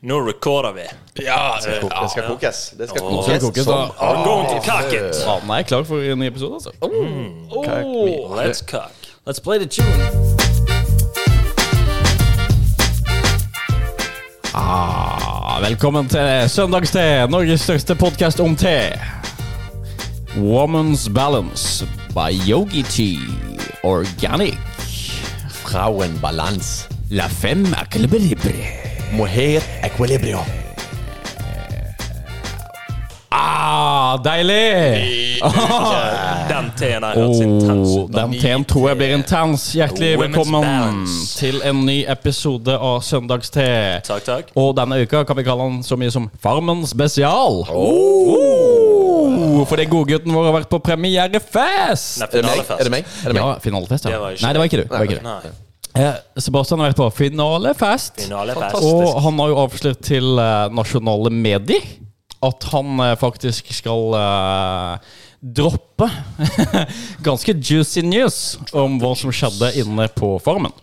Nå recorder vi. Ja, det, Det skal kokes. Det skal kokes. skal kokes, da. We're going to cock it. Mannen er klar for en ny episode, altså. Oh, Oh, let's cock. Let's play the tune. Ah, velkommen til Søndagste, Norges største podkast om te. Woman's Balance by Yogi Tea Organic. Frauen balans. La fem equilibre. Mohair equilibrio. Ah, deilig! Ah. Den teen har hørt sin tens Oh, ut. den teen tror jeg blir intens. Hjertelig Women's velkommen balance. til en ny episode av Søndagste. Takk, takk. Og denne uka kan vi kalle den så mye som Farmen spesial. Oh, For den godgutten vår har vært på premierefest! Nei, Er det meg? finalefest. Er det meg? Er det meg? Ja, finalefest, Det ja. var ikke Nei, det var ikke du. Det var ikke du. Nei. Eh, Sebastian har vært på finalefest. Finalefest. Fantastisk. Og han har jo avslørt til eh, nasjonale medier at han eh, faktisk skal eh, droppe ganske juicy news om hva som skjedde inne på farmen.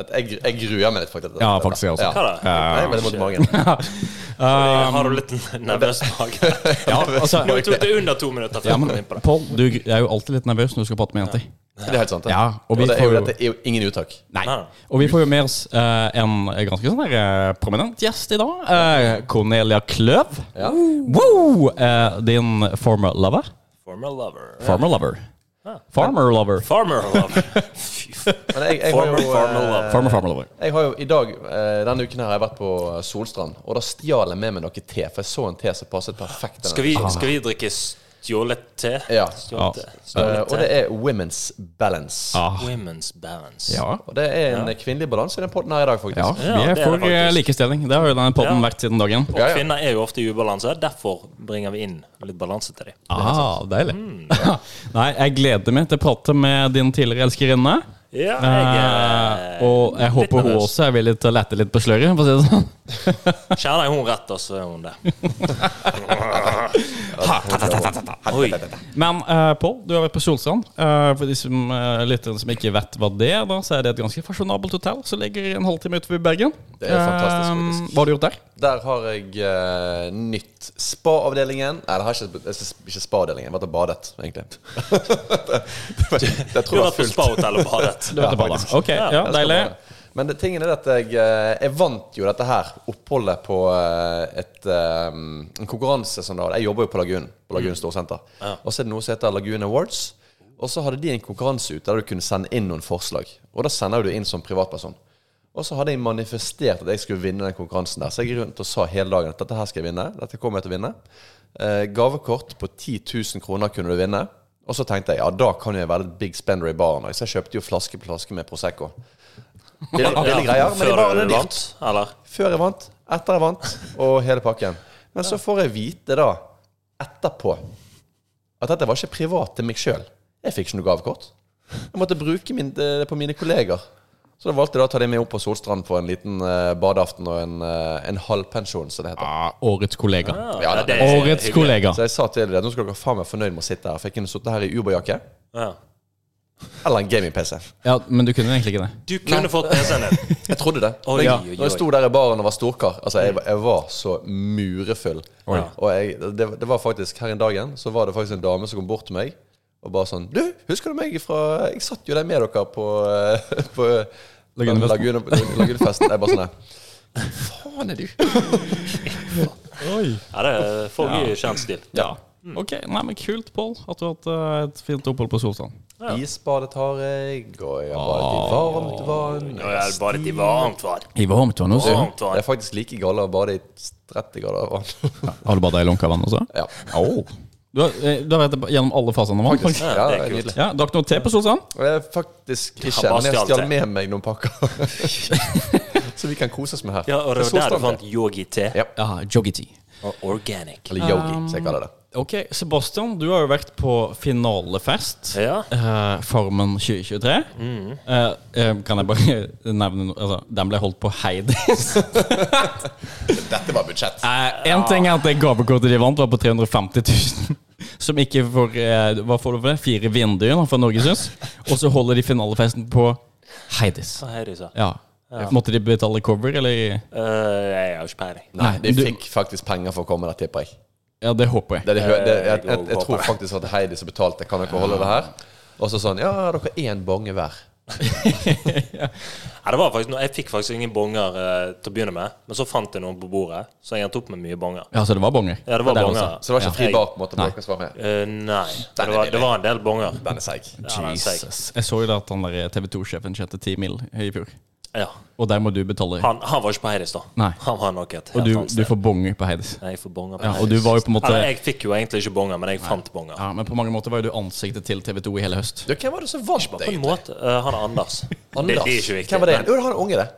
At Jeg, jeg gruer meg litt, faktisk. Ja, faktisk, jeg også. Hva Ja. da? Nei, men det er mot magen. Har du litt nervøs mage? Um, Ja, altså, Nå tok det under to minutter før ja, vi men kom inn på det. Pål, du er jo alltid litt nervøs når du skal prate med jenter. Det er helt sant. det. Ja, og vi det er får jo, jo- dette er jo ingen uttak. Nei. Nei. Og vi får jo med oss eh, en ganske sånn der, eh, prominent gjest i dag. eh, Cornelia Kløv. Ja. Woo! Eh, din former lover. Former lover. Farmer lover. Farmer lover. Farmer lover. Fy faen. Men jeg, jeg, har Former, jo, former eh, lover. Farmer, farmer lover. jeg har jo i dag eh, Denne uken her har jeg vært på Solstrand, og da stjal jeg med meg noe te. For jeg så en te som passet perfekt. denne Skal vi, skal vi drikke stjålet te? Ah. Ja. Stjålet te. Eh, Stjålet og det Ah. te. er Women's Balance. Women's balance. Ja. Og det er en kvinnelig balanse i den podden her i dag, ja. faktisk. Vi det er er det for eh, faktisk. likestilling. Det har jo denne podden Ja. vært siden dagen. Og Ja, ja. kvinner er jo ofte i ubalanse, derfor bringer vi inn litt balanse til dem. Ah, deilig. Nei, jeg gleder meg til å prate med din tidligere elskerinne. Ja, Eh, Ah, og jeg håper hun nervøs. også er villig til å lette litt på sløret, for å si det sånn. Kjenner jeg hun rett, og så er hun det. Oi. Men uh, Pål, du har vært på Solstrand. Eh, for de som, eh, lytterne som ikke vet hva det er, da, så er det et ganske fasjonabelt hotell som ligger en halvtime utenfor Bergen. Det er fantastisk, Eh, faktisk. hva har du gjort der? Der har jeg eh, nytt spa-avdelingen. Nei, det har ikke, det er ikke spa-avdelingen. Jeg har vært og badet, egentlig. det, det, Du det har tror jeg var vært på fullt. spahotellet og badet. Du har vært og badet. Ok, ja, Jeg skal deilig. bade. Men det, tingen er at jeg, eh, jeg vant jo dette her oppholdet på eh, et, eh, en konkurranse som det var. Jeg jobber jo på Lagunen, på Mm. Lagunen Storsenter. Og så er det noe som heter Lagunen Awards. Og så hadde de en konkurranse ute der du kunne sende inn noen forslag. Og da sender du det inn som privatperson. Og så hadde jeg manifestert at jeg skulle vinne den konkurransen der. Så jeg gikk rundt og sa hele dagen at dette her skal jeg vinne. Dette kommer jeg til å vinne. Eh, gavekort på 10 000 kroner kunne du vinne. Og så tenkte jeg ja, da kan jo jeg være litt big spender i baren. Så jeg kjøpte jo flaske på flaske med Prosecco. Billig, billig greier, men i Før baren du er dyrt. vant, eller? Før jeg vant, etter jeg vant, og hele pakken. Men så får jeg vite da, etterpå, at dette var ikke privat til meg sjøl. Jeg fikk ikke noe gavekort. Jeg måtte bruke min, det på mine kolleger. Så da valgte jeg da å ta de med opp på Solstrand på en liten eh, badeaften og en, eh, en halvpensjon, som det heter. Ah, årets kollega. Ja, det er Årets hyggelig. kollega. Så jeg sa til dem at nå skal dere faen meg fornøyd med å sitte her. For jeg kunne sittet her i Uber-jakke Ja. eller en gaming-PC. Ja, men du kunne egentlig ikke det. Du kunne fått PC-en din. Jeg trodde det. Oi, Men jeg, oi, oi. når jeg sto der i baren og var storkar Altså, jeg, var- jeg var så murefull. Og jeg, det, det var faktisk her en dagen Så var det faktisk en dame som kom bort til meg og bare sånn Du, husker du meg fra Jeg satt jo der med dere på, eh, på Lagunefesten. Lagune- Lagunefesten. Jeg bare sånn der, Faen er du? Ja, det er får mye kjenstil. Ja. Ok, nei, men Kult, Pål, at du har hatt eh, et fint opphold på Solstrand. Isbadet har jeg, og jeg har badet i varmt vann. Og jeg badet i varmt vann. I varmt vann også? Varmt Det er vann. faktisk like galt å bade i 30 grader vann. Har du badet i lunkavann også? Ja. Du har, eh, du har vært gjennom alle fasene av Ja, vann? det er nydelig. kult. Ja, Drakk noe te på Solstrand? Og jeg er faktisk bare ikke, men jeg stjålet stjal det. med meg noen pakker. Så vi kan kose oss med her. Ja, og det Så var der står du fant yogi-te. Ja. Ja, joggy tea. Og organic. Eller yogi, som jeg kaller det. Ok, Sebastian, du har jo vært på finalefest. Ja. eh, Farmen 2023. Eh, eh, kan jeg bare nevne noe? Altså, den ble holdt på Heidis. Dette var budsjett. Én Eh, ting er at det gavekortet de vant, var på 350 000. Som ikke får eh, Hva får du for det? Fire vinduer da, fra Norgeshus. Og så holder de finalefesten på Heidis. Hva er det du sa? Ja. Måtte de betale cover, eller? Eh, jeg har jo ikke peiling. Nei, de du- fikk faktisk penger for å komme der, tipper jeg. Ja, det håper jeg. Det, det, hø- det, jeg, Jeg jeg, jeg Eh, håper tror det. faktisk at Heidi som betalte, kan dere holde det her? Og så sånn Ja, dere er én bonge hver. Ja, det var faktisk noe, jeg fikk faktisk ingen bonger eh, til å begynne med, men så fant jeg noen på bordet, så jeg endte opp med mye bonger. Ja, så det var bonger? Ja, det var Der bonger. også. Så det var ikke fri Jeg- bar på en måte? Dere skal være med. Eh, nei. Den Det er var, billig. det var en del bonger. Den er seig. Ja, den er seig. Jesus. Jeg så jo da at han der eh, TV 2-sjefen tjente 10 mil i fjor. Ja. Og der må du betale. Han, han var ikke på Heidis, da. Nei. Han var nok et Og helt du, annet du sted. får bonger på Heidis. Nei, jeg får bonger på Ja, og Heidis. du var jo på en måte Eller, jeg fikk jo egentlig ikke bonger, men jeg fant bonger. Ja, Men på mange måter var jo du ansiktet til TV 2 i hele høst. Du, hvem var det som vant, På en egentlig? måte. eh, han er Anders. Det, det Anders. er ikke viktig. Hvem var det? men- Jo, han er unge, det.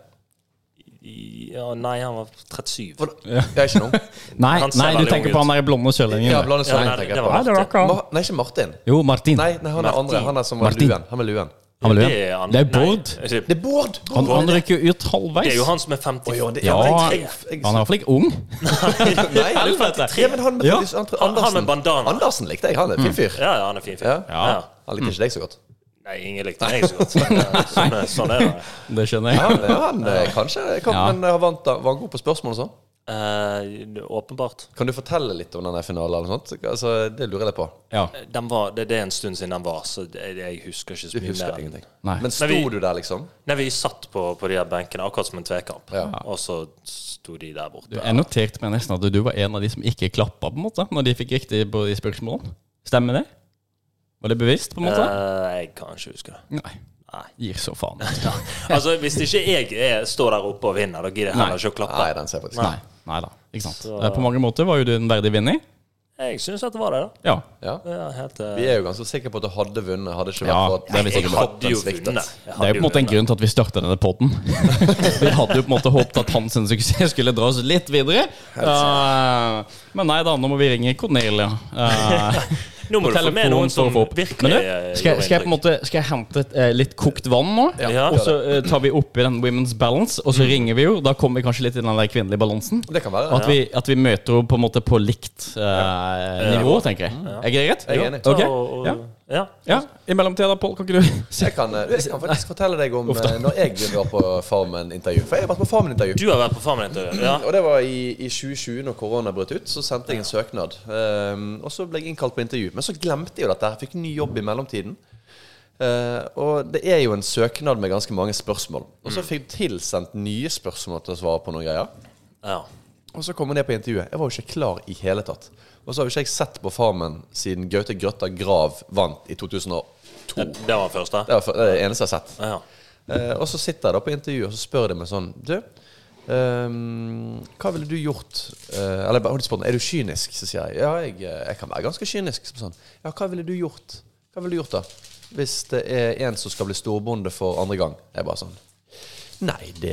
Ja, nei, han var 37. Var det- Jeg er ikke noen. Nei, Han ser nei du veldig tenker ung på ut. han der blonde sørlendingen. Ja, der. Blande Ja, Svein, nei, det tenker jeg var på. Nei, det var ikke han. Ma- Nei, ikke Martin. Jo, Martin. Nei, nei han er Martin. andre. Han er som har Martin. luen. Han med luen. han var luen. er han- Det er nei, Bård. det- Det er Bård! Han, Bård. han rykker jo ut halvveis. Det er jo han som er 50. Å, ja, det- Ja, han jeg- er jeg- i hvert fall ikke ung. Nei, Han er jo Ja, 53. men han med, Ja. han, Mm. Han- han med Andersen. bandana. Andersen likte jeg. Han er en fin fyr. Ja, ja, han er fin fyr. Ja. Ja. Han likte ikke deg så godt. Nei, ingen likte meg så godt. Men, eh, Sånn, er- sånn er det. Det skjønner Ja, jeg. men han eh, kanskje kan, Ja. Men eh, han vant da. Var han god på spørsmål og sånn? Eh, det- åpenbart. Kan du fortelle litt om denne finalen? eller noe sånt? Altså, det lurer jeg litt på. Ja. Den var, det, det er en stund siden den var, så jeg, jeg husker ikke så Du mye husker mer. ingenting. Nei. Men sto Nei, vi- du der, liksom? Nei, vi satt på, på de her benkene, akkurat som en tvekamp, Ja. og så sto de der borte. Jeg noterte meg nesten at du var en av de som ikke klappa, på en måte, når de fikk riktig på de spørsmålene. Stemmer det? Var det bevisst, på en måte? Eh, jeg kan ikke huske det. Nei. Nei. Gir så faen. Altså, Hvis ikke jeg er, står der oppe og vinner, da gidder jeg heller Nei. ikke å klappe. Nei, den ser jeg faktisk Nei. ikke. Nei da. Ikke sant. Så- Eh, På mange måter var jo du en verdig vinner. Jeg syns at det var det, da. Ja. Ja. Det er helt, eh, Vi er jo ganske sikre på at du hadde vunnet, hadde ikke vært Ja, for at det er vi jeg sikre på. hadde jo sviktet. vunnet. Jeg Det hadde er jo på en måte en vunnet. grunn til at vi starta denne poden. vi hadde jo på en måte håpet at hans suksess skulle dra oss litt videre. Eh, men nei da, nå må vi ringe Cornelia. Eh, Nå må du få med noen som for å få opp. virkelig Men du, eh, skal, gjorde skal jeg inntrykk. på en måte Skal jeg hente et, eh, litt kokt vann nå? Ja. Mm. Og så eh, tar vi opp i den Women's Balance, og så ringer vi jo. Da kommer vi kanskje litt i den der kvinnelige balansen. Det kan være. At vi, at vi møter henne på en måte på likt eh, nivå, tenker jeg. Er ikke det greit? Jeg er enig. Ok. Og, og, Ja. ja. ja. I mellomtida da, Pål, kan ikke du Jeg kan, eh, jeg kan faktisk fortelle deg om eh, når jeg var på Farmen-intervju. For jeg har vært på Farmen-intervju. Du har vært på Farmen-intervjuet. Ja. Og det var i, i 2020, når korona brøt ut. Så sendte jeg en søknad. Ehm, og så ble jeg innkalt på intervju. Men så glemte jeg jo dette. her. Fikk ny jobb i mellomtiden. Eh, og det er jo en søknad med ganske mange spørsmål. Og så fikk jeg tilsendt nye spørsmål til å svare på noen greier. ja. Og så kom jeg ned på intervjuet. Jeg var jo ikke klar i hele tatt. Og så har jo ikke jeg sett på Farmen siden Gaute Grøtta Grav vant i 2002. Det, Det det var den første? er det er det eneste jeg har sett. Ja. Eh, og så sitter jeg da på intervjuet og så spør de meg sånn Du, ehm, hva ville du gjort eh, Eller bare- de spør meg, er du kynisk? Så sier jeg ja, jeg, eh, jeg kan være ganske kynisk. Så Sånn. Ja, hva ville du gjort? Hva ville du gjort da? Hvis det er en som skal bli storbonde for andre gang. Jeg bare sånn Nei, det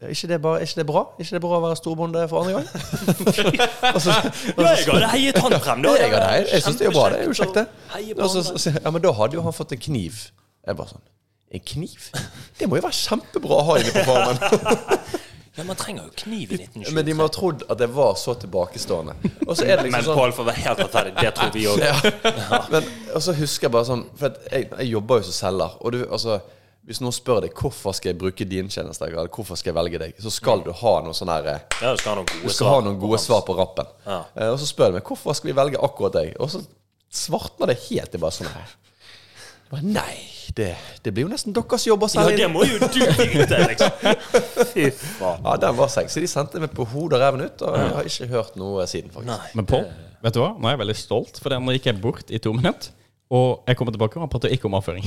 er ikke det, bare, er ikke det bra? Er ikke det bra å være storbonde for andre gang? ja, jeg hadde heiet han frem. Ja, da. jeg, nei, jeg syns det er jo bra. Det er jo Kjempekjekt kjekt, det. å heie på Og så- han. så sier jeg, Ja, Men da hadde jo han fått en kniv. Jeg bare sånn En kniv? Det må jo være kjempebra å ha inne på farmen. Ja, Man trenger jo kniv i 1920. Men de må ha trodd at jeg var så tilbakestående. Og så er det liksom Men sånn Pål, for å være helt rettferdig, det tror vi òg. men, Og så husker jeg bare sånn For at jeg, jeg jobber jo som selger. Og du, altså hvis noen spør deg hvorfor skal jeg bruke din tjeneste, eller hvorfor skal jeg velge deg, så skal du ha noe sånn her eh, Ja, du skal ha noen Du gode skal ha svar. noen gode svar på rappen. Ja. Eh, og så spør de meg hvorfor skal vi velge akkurat deg. Og så svartner det helt. Jeg bare sånn her. Jeg bare, Nei, det, det blir jo nesten deres jobb å Ja, selge det inn. må jo du vite, liksom. Fy faen. Ja, den var sexy. De sendte meg på hodet og reven ut, og jeg har ikke hørt noe siden, faktisk. Nei. Men Pål, vet du hva? Nå er jeg veldig stolt, for nå gikk jeg bort i to minutter. Og jeg kommer tilbake og han prater ikke om avføring.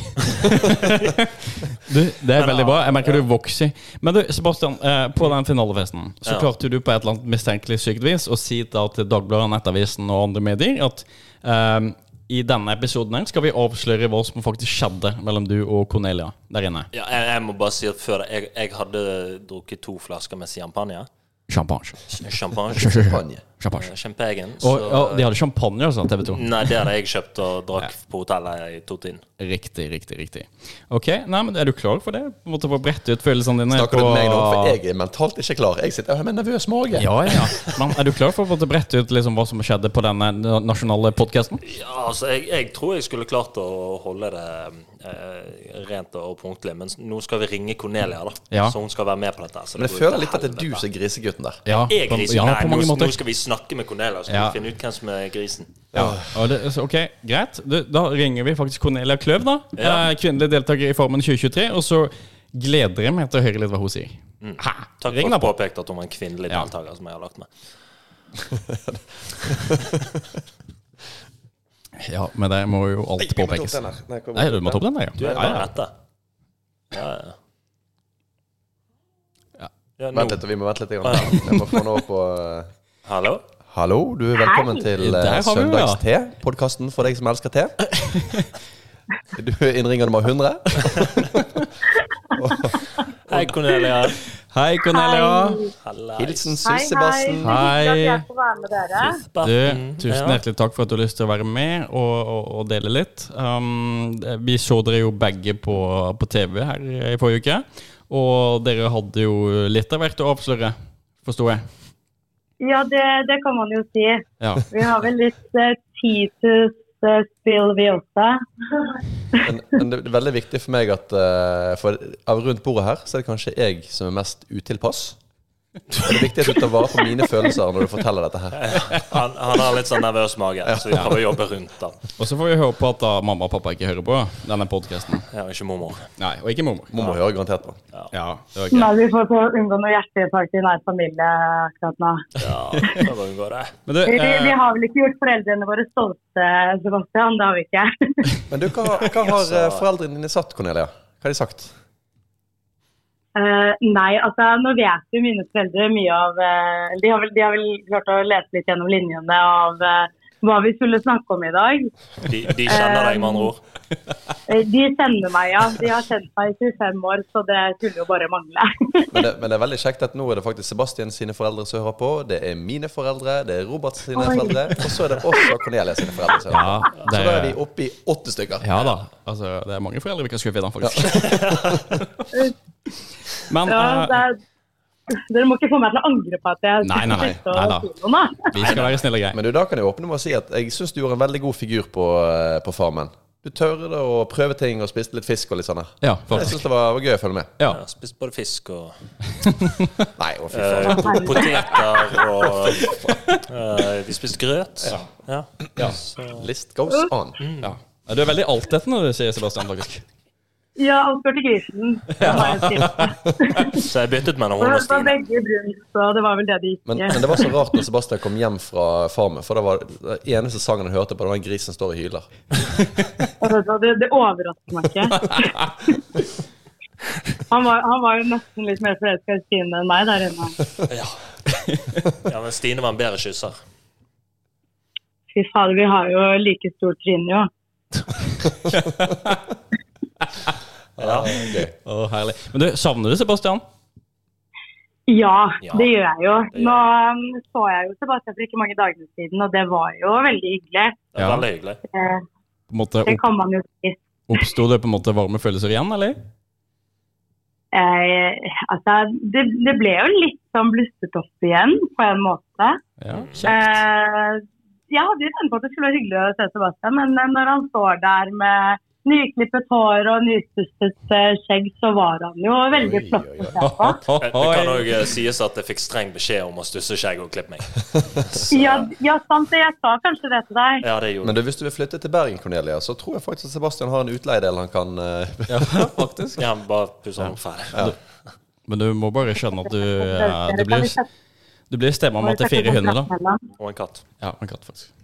du, Det er veldig bra. Jeg merker du vokser. Men du, Sebastian. eh, På den finalefesten Ja. så klarte du på et eller annet mistenkelig sykt vis å si da til Dagbladet, Nettavisen og andre medier at eh, i denne episoden her skal vi avsløre hva som faktisk skjedde mellom du og Cornelia der inne. Ja, jeg, jeg må bare si at før det jeg, jeg hadde drukket to flasker med champagne. Champagne. Champagne. Champagne. Champagne. Champagnen. Og, så- og de hadde champagne og sånn, TV 2. Nei, det hadde jeg kjøpt og drakk på hotellet i to tiden. Riktig, riktig, riktig. Ok, nei, men Er du klar for det? På en måte for å brette ut følelsene dine? Snakker du på- med meg nå? For e- jeg er mentalt ikke klar. Jeg sitter her med en nervøs mage. Ja, ja. Men er du klar for å på en måte brette ut liksom hva som skjedde på denne na- nasjonale podkasten? Ja, altså, jeg, jeg tror jeg skulle klart å holde det eh, rent og punktlig, men s- nå skal vi ringe Cornelia, da. Ja. Så hun skal være med på dette. Så Men jeg går føler til litt at det er du helvete. som er grisegutten der. Ja, Jeg på- grisen? ja, Nei, på nå, mange måter. nå skal vi snakke med Cornelia, så skal Ja. vi finne ut hvem som er grisen. Ja. og Det, så, ok, greit. Du, da ringer vi faktisk Cornelia Kløv, da. Ja. Eh, Kvinnelig deltaker i Formen 2023. Og så gleder jeg meg til å høre litt hva hun sier. Hæ? Takk for Ring da at du på. påpekte at hun var en kvinnelig Ja. deltaker som jeg har lagt med. Ja, men det må jo alt påpekes. Nei, du må ta opp den der, Du ja. er ja, bare ja. dette. Ja, ja. Ja. Ja, nå. Vent litt, vi må vente litt. Grann. Jeg må få den over på eh, Hallo? Hallo, du er velkommen til Der eh, har vi den, ja. Søndagste, podkasten for deg som elsker te. Du er innringer nummer 100. Hei, Cornelia. Hei, Cornelia. Halla. Hilsen Hei, hei. Sussebassen. Hei. Hyggelig at jeg får være med dere. Du, Barten. tusen Ja. hjertelig takk for at du har lyst til å være med og, og, og dele litt. Um, vi så dere jo begge på, på TV her i forrige uke, og dere hadde jo litt av hvert å avsløre, forsto jeg. Ja, det, det kan man jo si. Ja. Vi har vel litt eh, Titus eh, spill, vi også. Men, men det er veldig viktig for meg at eh, For av rundt bordet her så er det kanskje jeg som er mest utilpass. Det er viktig at du tar vare på mine følelser når du forteller dette her. Han, han har litt sånn nervøs mage, så vi prøver å jobbe rundt den. Og så får vi håpe at da mamma og pappa ikke hører på denne podkasten. Ja, ikke mormor. Nei, og ikke mormor. Må må høre garantert på. Ja, det var Nei, greit. vi får prøve å unngå noe hjerteinfarkt i nær familie akkurat nå. Ja, da går vi det. Men du, Vi, vi eh, har vel ikke gjort foreldrene våre stolte, Sebastian. Det har vi ikke. Men du, hva, hva har eh, foreldrene dine sagt, Cornelia? Hva har de sagt? Eh, nei, altså nå vet jo mine foreldre mye av eh, de, har vel, de har vel klart å lese litt gjennom linjene av eh, hva vi skulle snakke om i dag. De, de kjenner deg, med andre ord. Eh, De kjenner meg, ja. De har kjent meg i 25 år, så det skulle jo bare mangle. Men det, men det er veldig kjekt at nå er det faktisk Sebastian sine foreldre som hører på. Det er mine foreldre, det er Roberts sine Oi. foreldre, og så er det også Cornelia sine foreldre. som hører ja, på. det, Så da er vi oppe i åtte stykker. ja da. Altså, det er mange foreldre vi kan skuffe i dag, faktisk. Men Ja, det, eh, er- dere må ikke få meg til å angre på at jeg Nei, nei, nei. sitter og Nei da. sier noe, da. vi skal være snille og greie. Men du, da kan jeg åpne med å si at jeg syns du gjorde en veldig god figur på, eh, på Farmen. Du tørde å prøve ting og spiste litt fisk og litt sånn her. Ja, Jeg faktisk. syns det var, var gøy å følge med. Ja. Ja, spist både fisk og Nei, å fy eh, faen. po- poteter og eh, Vi spiste grøt. Ja. Ja. Så, List goes on. Mm. Ja. Du er veldig altetende, du sier Sebastian, faktisk. Ja, alt går til grisen. Det har jeg sett. så jeg byttet mellom Det hun og var Stine. begge brun, så det var vel det de Men, gikk men det var så rart når Sebastian kom hjem fra Farmen, for det var den eneste sangen han hørte på, det var en gris som står og hyler. Altså, det, det overrasker meg ikke. Han var, han var jo nesten litt mer forelska i Stine enn meg der inne. Ja. ja, men Stine var en bedre kysser. Fy fader, vi har jo like stort tryne, jo. Ja. Gøy. Å, herlig. Men du, savner du Sebastian? Ja, Ja, det gjør jeg jo. det gjør Nå um, så jeg jo Sebastian for ikke mange dagene siden, og det var jo veldig hyggelig. Det var Ja. Veldig hyggelig. Eh, På en måte, Det opp, kan man jo si. Oppsto det på en måte varme følelser igjen, eller? Eh, altså, det, det ble jo litt sånn blusset opp igjen, på en måte. Ja. Eh, jeg hadde jo tenkt på at det skulle være hyggelig å se Sebastian, men eh, når han står der med nyklippet hår og nypustet eh, skjegg, så var han jo veldig Oi, flott oi, å oi. se på. Eh, Det kan òg sies at jeg fikk streng beskjed om å stusse skjegg og klippe meg. Så, Ja, ja, sant det. Jeg sa kanskje det til deg. ja, det gjorde Men du, hvis du vil flytte til Bergen, Cornelia, så tror jeg faktisk at Sebastian har en utleiedel han kan eh, Ja, faktisk. jeg. Ja, bare pusse hånden ferdig. Men du må bare skjønne at du, eh, Dere du kan blir, jo sette- du blir stemmemann til fire hunder, da. Og en katt. Ja, en katt, faktisk.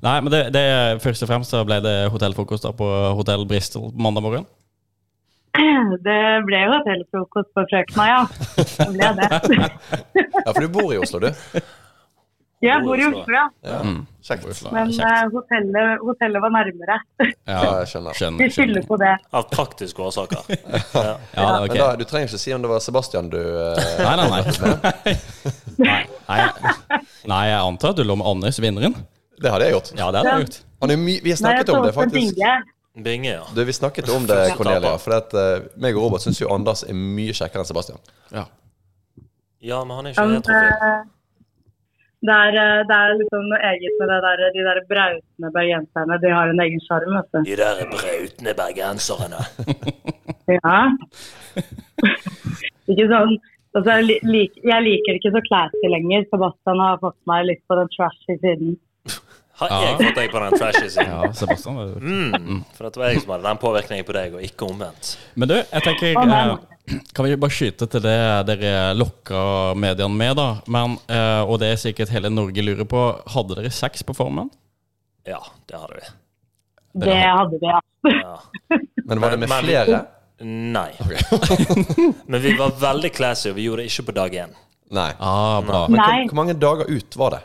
Nei, men det, det først og fremst så ble det hotellfrokost da på Hotell Bristol på mandag morgen. Det ble jo hotellfrokost på Frøkna, ja. Det ble det. Ja, for du bor i Oslo, du. Jeg bor i Oslo, ja. Ja. Kjekt. Hvorfor? Men Kjekt. eh, hotellet, hotellet var nærmere. Ja, jeg skjønner. Vi skjønner. skylder på det. Av praktiske årsaker. Ja. Ja, det er Men ok. da, du trenger ikke si om det var Sebastian du eh, Nei, nei, nei. nei. nei. Nei, jeg antar at du lå med Anders, vinneren. Det hadde jeg gjort. Ja, det hadde jeg gjort. Han er my vi har snakket om det, faktisk. Binge, ja. Du, vi snakket om det, Cornelia. For at, eh, meg og Robert syns jo Anders er mye kjekkere enn Sebastian. Ja, men han er ikke Han, heterofil. eh, Det er, eh, det er liksom noe eget med det der, de der brautende bergenserne. De har en egen sjarm, vet du. De der brautende bergenserne. Ja. ikke sånn altså, jeg li- lik, Jeg liker ikke så classy lenger. Sebastian har fått meg litt på den trashy siden. Har jeg fått deg på den trashy siden? Ja, Sebastian var jo Mm, for det var jeg som hadde den påvirkningen på deg, og ikke omvendt. Men du, jeg tenker Å, nei. eh, Kan vi bare skyte til det dere lokka mediene med, da? Men, eh, og det er sikkert hele Norge lurer på. Hadde dere sex på formen? Ja, det hadde vi. Det hadde vi, ja. Ja. Men var det med Men- flere? Nei. men vi var veldig classy, og vi gjorde det ikke på dag én. Nei. Ah, bra. Men hvor, Nei. hvor mange dager ut var det?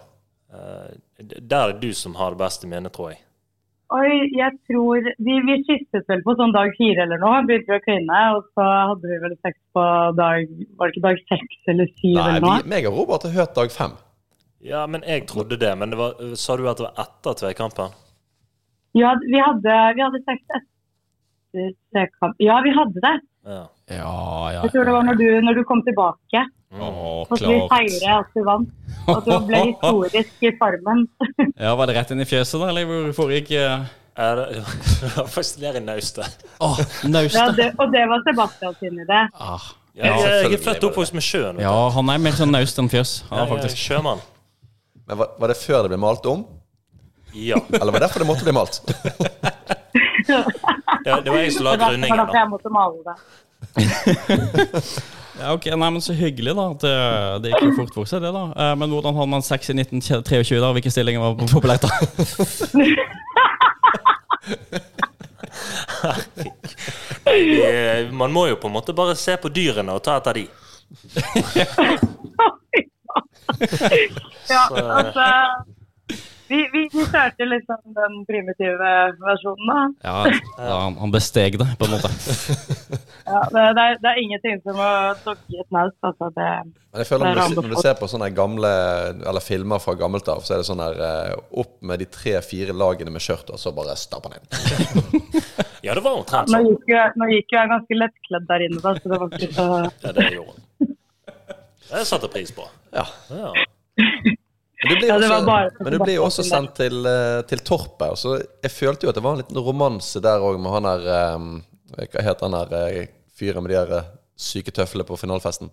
Eh, d- der er det du som har det beste minnet, tror jeg. Oi, jeg tror Vi, vi skiftet vel på sånn dag fire eller noe. Begynte vi å kline, og så hadde vi vel sex på dag Var det ikke dag seks eller syv Nei, eller vi, noe? meg og Robert har hørt dag fem. Ja, men jeg trodde det. Men det var, eh, sa du at det var etter Tveikampen? Ja, vi hadde, vi hadde sex etter trekamp. Ja, vi hadde det. Ja. Ja, ja. Jeg tror det var når du, når du kom tilbake. Å, Og så vi klart. feire at du vant. Og at du ble historisk i formen. Ja, Var det rett inn i fjeset, da? Eller hvor foregikk eh? Er det, det var faktisk nede i naustet. Åh, Ja, naustet. det, og det var Sebastian sin idé. Ah. Ja, jeg, jeg er selvfølgelig født var opp hos med sjøen. vet Ja, han er mer sånn naust enn fjøs. du. Ja, Jeg er faktisk. sjømann. Men var, var det før det ble malt om? Ja. Eller var det derfor det måtte bli malt? ja. Det var jeg som la Det var det var grunningen. derfor da. jeg måtte male det. Ja, ok, nei, men Så hyggelig, da. At eh, det gikk jo fort for seg, det, da. Eh, Men hvordan hadde man sex i 1923, da? Hvilke stillinger var populært, da? Eh, Man må jo på en måte bare se på dyrene og ta etter de. Ja, altså vi, vi, vi kjørte liksom den primitive versjonen, da. Ja, ja han, han besteg det, på en måte. Ja, det, det, er, det er ingenting som å dukke i et naust. Altså, det, Men jeg føler Det når er du, når du anbefalt. ser på sånne gamle Eller filmer fra gammelt av, så er det sånn her eh, opp med de tre-fire lagene med skjørt, og så bare stapper han inn. Ja, det var omtrent nå, sånn. gikk jo, nå gikk jo jeg ganske lettkledd der inne, da, så det var ikke så sånn. Ja, det gjorde hun. Det satte jeg pris på. Ja. Ja. Men du blir Ja, det også, var bare- men du blir jo også sendt til, eh, til Torpet. Og så jeg følte jo at det var en liten romanse der òg med han der eh, Hva heter han der eh, fyren med de der eh, syke tøflene på finalefesten?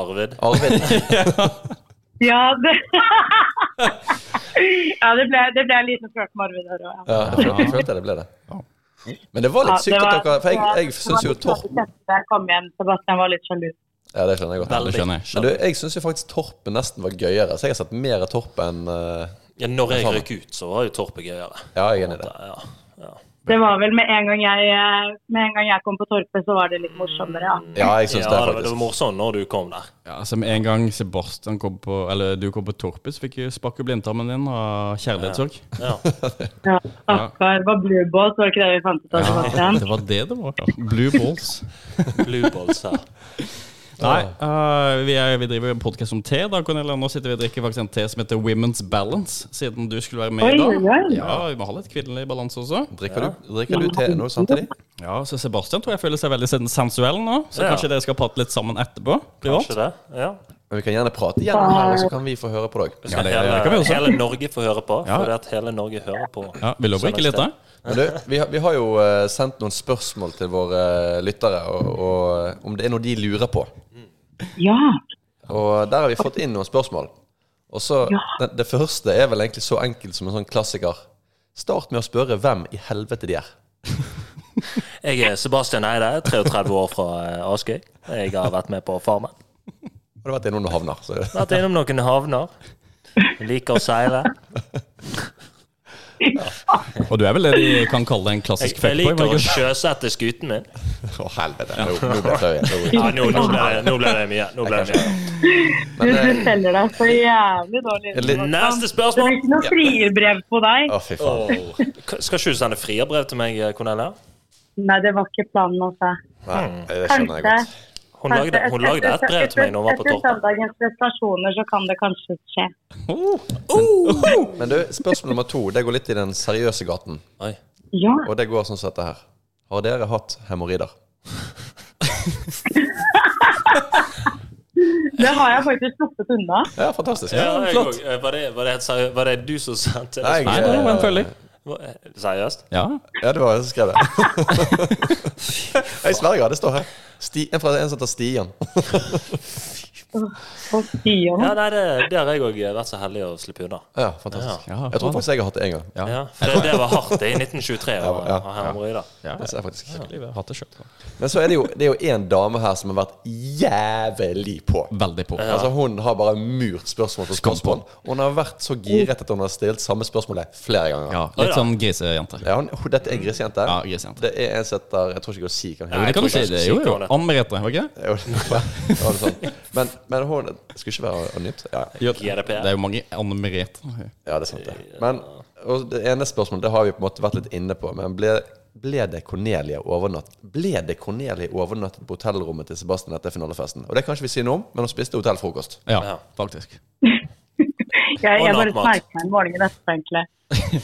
Arvid. Arvid. Ja, det Ja, det ble, det ble en liten flørt med Arvid der òg, ja. Ja, jeg følte, jeg følte det ble det. Men det var Ja, litt sykt det at var- dere For jeg, det- jeg syns jo det var litt Torp kjekt da Jeg kom hjem, Sebastian var litt sjalu. Ja, det skjønner jeg godt. det skjønner jeg. Men du, jeg syns jo faktisk Torpet nesten var gøyere, så jeg har sett mer av Torpet enn eh, Ja, når jeg røk ut, så var jo Torpet gøyere. Ja, jeg er enig i det. Ja, ja. Det var vel med en gang jeg, eh, med en gang jeg kom på Torpet, så var det litt morsommere, ja. Ja, jeg syns ja det, det, var- det var faktisk. morsomt når du kom der. Ja, altså Med en gang Sebastian kom på Eller du kom på Torpet, så fikk jeg sparke blindtarmen din av kjærlighetssorg. Ja. ja stakkar. Det var Blue Balls, var det ikke det vi fant ut av, Sebastian? det var det det var. Ja. Blue balls. Blue balls her. Nei, eh, vi, er, vi driver en podkast om te. da, Cornelia. Nå sitter vi og drikker faktisk en te som heter Women's Balance, siden du skulle være med i dag. Oi, oi, oi. Ja, Vi må ha litt kvinnelig balanse også. Drikker du, drikker du te nå samtidig? Ja, Så Sebastian tror jeg føler seg veldig sen- sensuell nå, så Ja. kanskje dere skal prate litt sammen etterpå? Privat? Kanskje det? Ja. Men vi kan gjerne prate gjennom her, og så kan vi få høre på deg. Skal det- det kan vi hele, også. hele Norge få høre på? Ja. Fordi at hele Norge hører på. Ja, Vil du drikke litt, da? Men du, vi, har- vi har jo eh, sendt noen spørsmål til våre eh, lyttere, og, og eh, om det er noe de lurer på. Ja. Og der har vi fått inn noen spørsmål. Og så, det, det første er vel egentlig så enkelt som en sånn klassiker. Start med å spørre hvem i helvete de er. Jeg er Sebastian Eide, 33 år fra eh, Askøy. Jeg har vært med på Farmen. Og det har vært innom noen havner. Så. Vært innom noen havner. Liker å seile. Og du er vel det de kan kalle en Jeg, klassisk jeg fuckboy? liker var å det ikke? sjøsette skuten min. Å, helvete. Nå, nå ble jeg flau igjen. Ja, nå, nå, ble, det- nå ble det mye. Nå ble det mye. Du, eh, du selger deg så jævlig dårlig. Litt- Sebastian. Neste Det spørsmål! blir ikke noe frierbrev på deg. Å, fy faen. K- Skal ikke du sende frierbrev til meg, Cornelia? Nei, det var ikke planen, altså. Nei, det skjønner jeg Kanskje. godt. Hun lagde, hun lagde et brev til meg når hun var på Etter Torpet. søndagens prestasjoner så kan det kanskje skje. Oh! Oh! Men du, spørsmål nummer to, det går litt i den seriøse gaten. Oi. Ja. Og det går sånn som dette her. Har dere hatt hemoroider? Det har jeg faktisk sluppet unna. Ja, fantastisk. Ja, jeg flott. òg. Eh, Var, det- var, det helt seriø- var det du som sendte Nei, det? Nei, det var en følger. Hva- Seriøst? Ja. Ja, det var jeg som skrev det. Jeg sverger, det står her. Sti, en fra en som heter Stian. På Sion. Ja, nei, det, det har jeg òg vært så heldig å slippe unna. Ja, fantastisk. Ja. Jeg tror faktisk jeg har hatt det én gang. Ja, for det, det var hardt det i 1923 å ja, ha hemoroider. Ja, Det ser jeg faktisk ikke. jeg hatt det selv. Men så er det jo Det er jo en dame her som har vært jævlig på. Veldig på. Altså Hun har bare murt spørsmål på Skam på. spørsmål. Hun har vært så giret at hun har stilt samme spørsmålet flere ganger. Ja, litt sånn grisejente. Ja, hun, hun- dette er en grisejente. Ja, grisejente. Det er en som heter Jeg tror ikke jeg sier hva hun Jo, Nei, det kan du jeg tror si. det jeg Jo, skal jo. si det. Anne Merete, var ikke det? Jo, det var det sånn. men, men hun det Skulle ikke være anonymt. Ja, Jo, GDPR. Det er jo mange Anne Merete. ja det er sant, det. Men og det ene spørsmålet Det har vi på en måte vært litt inne på. Men ble, ble det Cornelia overnatt Ble det Cornelia overnattet på hotellrommet til Sebastian etter finalefesten? Og det kan ikke vi si noe om, men hun spiste hotellfrokost. Ja, Ja. faktisk. Jeg, jeg Og bare nattmat. smerker meg morgenen etterpå, egentlig.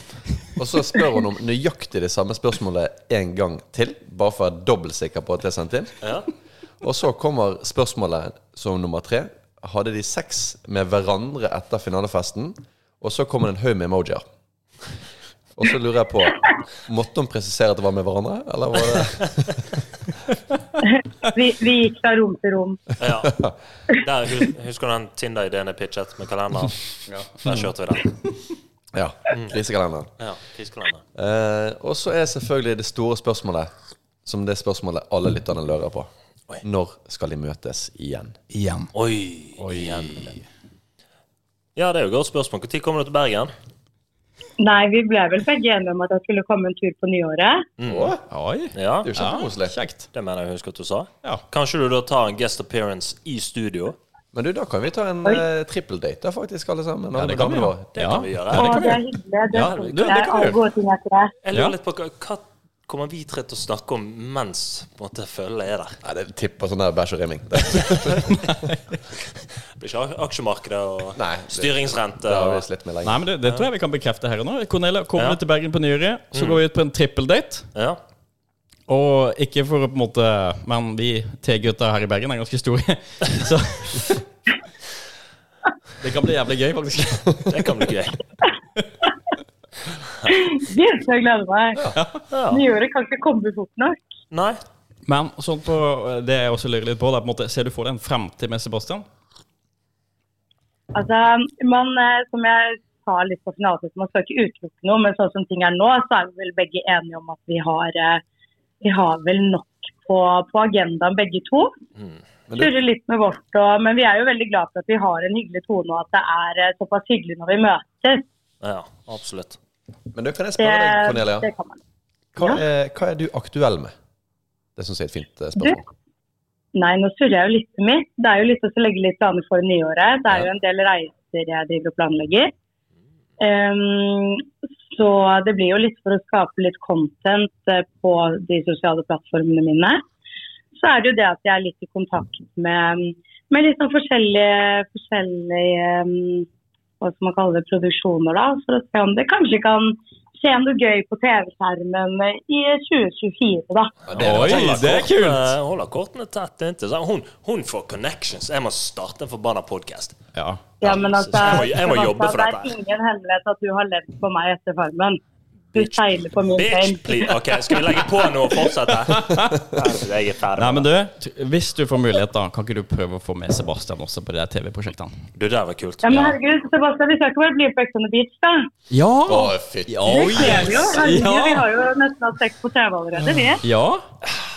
Og så spør hun om nøyaktig det samme spørsmålet en gang til, bare for å være dobbeltsikker på at det er sendt inn. Ja. Og så kommer spørsmålet som nummer tre. Hadde de sex med hverandre etter finalefesten? Og så kommer det en haug med emojier. Og så lurer jeg på Måtte hun presisere at det var med hverandre, eller var det Vi, vi gikk fra rom til rom. Ja. Der, hus- husker du den Tinder-ideen jeg pitchet med kalender? Der kjørte vi den. Ja. Grisekalenderen. Ja, krisekalender. Eh, og så er selvfølgelig det store spørsmålet, som det spørsmålet alle lytterne lurer på. Oi. Når skal de møtes igjen? Igjen. Oi, igjen. Ja, det er jo et godt spørsmål. Når kommer du til Bergen? Nei, vi ble vel begge enige om at jeg skulle komme en tur på nyåret. Åh, Oi. Ja, det er jo kjempekoselig. Mm. Kjekt. det mener jeg å huske at du sa. Ja. Kanskje du da tar en guest appearance i studio? Men du, da kan vi ta en uh, trippeldate da, faktisk, alle sammen. alle det kan vi damene våre. gjøre. Det Ja. kan vi gjøre. Å, kan vi det er gjøre. hyggelig. Det Ja, er det- sånn. det Det er kan vi alle gjøre. gode ting etter det. Jeg Ja. lurer litt på hva- hva kommer vi tre til å snakke om mens på en måte, følget er der? Nei, det tipper sånn der bæsj og rimming. Det, Det blir ikke aksjemarkedet og Nei, det- styringsrente det har vi og slitt med Nei, lenge. men det, det tror jeg vi kan bekrefte her og nå. Cornelia, kommer Ja. Mm. du til Bergen på nyåret, så går vi ut på en trippeldate. ja. Og ikke for å på en måte Men vi T-gutta her i Bergen er ganske store, så Det kan bli jævlig gøy, faktisk. Det kan bli gøy. Gud, så jeg gleder meg. Ja. Nyåret kan ikke komme fort nok. Nei. Men sånn på, det jeg også lurer litt på, det er på en måte ser du for deg en fremtid med Sebastian? Altså, man, eh, som jeg sa litt på finalefesten, man skal ikke utelukke noe, men sånn som ting er nå, så er vi vel begge enige om at vi har, eh, vi har vel nok på, på agendaen begge to. Men du, Surrer litt med vårt, og, men vi er jo veldig glad for at vi har en hyggelig tone, og at det er eh, såpass hyggelig når vi møtes. Ja, absolutt. men du, kan jeg Det, spørre deg, Cornelia? Eh, det kan man. Hva er, hva er du aktuell med? Det syns jeg er et fint eh, spørsmål. Nei, nå surrer jeg jo litt med mitt. Det er jo litt å legge litt planer for nyåret. Det er jo en del reiser jeg driver og planlegger. Ehm, så det blir jo litt for å skape litt content eh, på de sosiale plattformene mine. Så er det jo det at jeg er litt i kontakt med, med litt sånn forskjellige, forskjellige ehm, hva skal man kalle det, produksjoner da, for å se om det kanskje kan skje noe gøy på TV-skjermen i 2024 da. Oi, det er sånn Eh, kortene- kult! Holder kortene tett inntil. sånn. Hun, hun får connections. Jeg må starte en forbanna podkast. Ja. Ja, men altså, Jeg må- jeg må jobbe for dette. Sebastian, Det er ingen hemmelighet at du har levd på meg etter Farmen. Du seiler på min Bitch, bein. please. Ok, skal vi legge på nå og fortsette? Nei, Jeg er ferdig. Nei, men du, t- hvis du får mulighet, da, kan ikke du prøve å få med Sebastian også på de der TV-prosjektene? Du, det var kult. Ja, men herregud, Sebastian, vi skal ikke bare bli på Ex on the Beach, da. Ja! Å, fytti Oh, Det er vi jo. Herregud, vi Ja! har jo nesten hatt sex på TV allerede, vi. ja.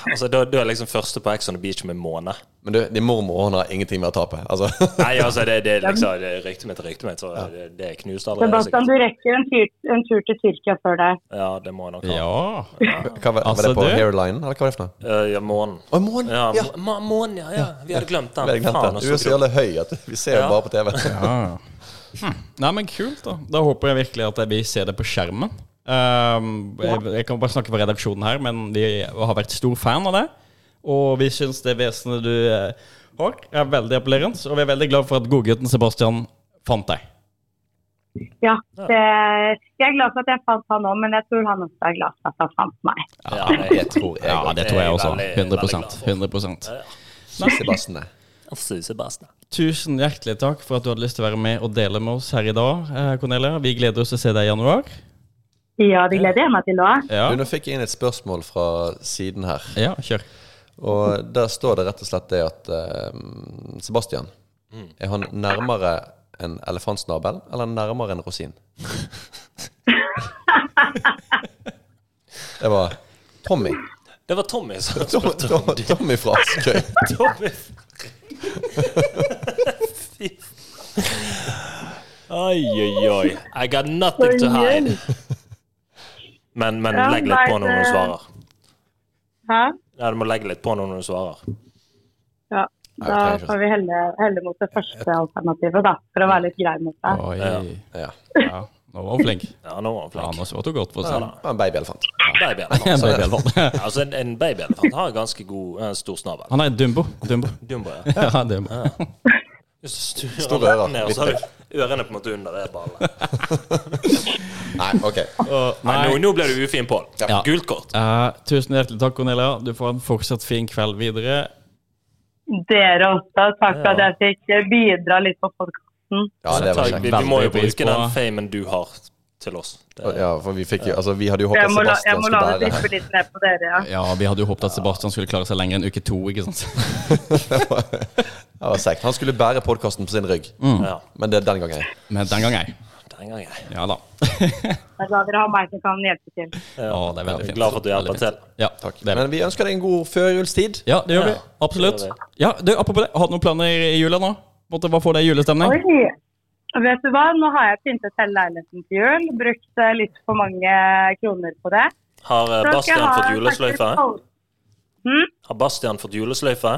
Altså, du, du er liksom første på Ex on the Beach med måned. Men du, din mormor hun har ingenting med å tape. Altså. Nei, altså, det, det er liksom det er ryktet mitt er ryktet mitt, så det, det er knust allerede. Sebastian, sikkert. du rekker en tur, en tur til Tyrkia før det. Ja, det må jeg nok ha. ja. Hva var, var Altså, det på du- hairlinen, eller hva var det for noe? Eh, ja, månen. Å, månen! Ja, Ja. ma- ma- månen, ja, ja. Vi hadde glemt den. Vi hadde Faen, glemt det. altså, Du er så jævlig høy at vi ser jo Ja. bare på TV. Ah. Hm. Nei, men kult, da. Da håper jeg virkelig at vi ser det på skjermen. Ehm, jeg, jeg kan bare snakke for redaksjonen her, men vi har vært stor fan av det. Og vi syns det vesenet du eh, har, er veldig appellerende. Og vi er veldig glad for at godgutten Sebastian fant deg. Ja, det, jeg er glad for at jeg fant han òg, men jeg tror han også er glad for at han fant meg. Ja, Det tror jeg. Ja, det tror jeg også. Veldig, veldig 100 100 Sebastian er. Sebastian. Tusen hjertelig takk for at du hadde lyst til å være med og dele med oss her i dag, eh, Cornelia. Vi gleder oss til å se deg i januar. Ja, det gleder jeg meg til òg. Ja, Du, nå fikk jeg inn et spørsmål fra siden her. ja kjør. Og der står det rett og slett det at eh, Sebastian, er han nærmere en elefantsnabel eller nærmere en rosin? det var Tommy. Det var Tommy som Tom, spurte Tom, om det. Tommy fra Askøy. Tommy. Fy. Oi, oi, oi. I got nothing to hide. Men, men Ja, legg litt på nei, når du det- svarer. Hæ? Ja, du må legge litt på når du svarer. Ja. Da Ja, ok, får vi helle, helle mot det første alternativet, da, for å være litt grei mot deg. Oi. Ja. Ja. Ja, nå var hun flink. Ja, nå var han Ja, flink. nå svarte hun godt på Han seg. var en babyelefant. Babyelefant. En babyelefant. Altså, en, en babyelefant har ganske god eh, stor snabel. Han er en dumbo. Dumbo. Dumbo, ja. Ja, dumbo. Hvis du sturer Store rett ører, ned, litt så har du ørene på en måte under det ballet. Nei, OK. Nei, nå, nå ble du ufin, Pål. Ja. Gult kort. Eh, tusen hjertelig takk, Cornelia. Du får en fortsatt fin kveld videre. Dere også. Takk for at jeg fikk eh, bidra litt på podkasten. Ja, det var Takk. kjekt. vi, vi må jo Veldig pris bruke på- den famen du har til oss. Det, Ja, for vi fikk jo Altså, vi hadde jo håpet Jeg at må la, jeg Sebastian må la skulle det bære dyppe litt ned på dere, ja. Ja, vi hadde jo håpet at Sebastian skulle klare seg lenger enn uke to, ikke sant? Det var sekt. Han skulle bære podkasten på sin rygg, Mm. ja. men det er den gangen. Men den gang ei. Den gangen, jeg. Ja da. Jeg er glad dere har meg som kan hjelpe til. Ja, det er veldig fint. Glad for at du hjelper Veldig fint. til. Ja, Takk. Det er. Men vi ønsker deg en god førjulstid. ja, det gjør vi. Ja, Absolutt. det gjør Ja, du, apropos det, har du noen planer i jula nå? Måtte bare få deg julestemning? Oi! Vet du hva, nå har jeg pyntet hele leiligheten til jul. Brukt eh, litt for mange kroner på det. Har eh, Så skal jeg Bastian ha fått faktisk julesløyfe? alt- Har Bastian fått julesløyfe?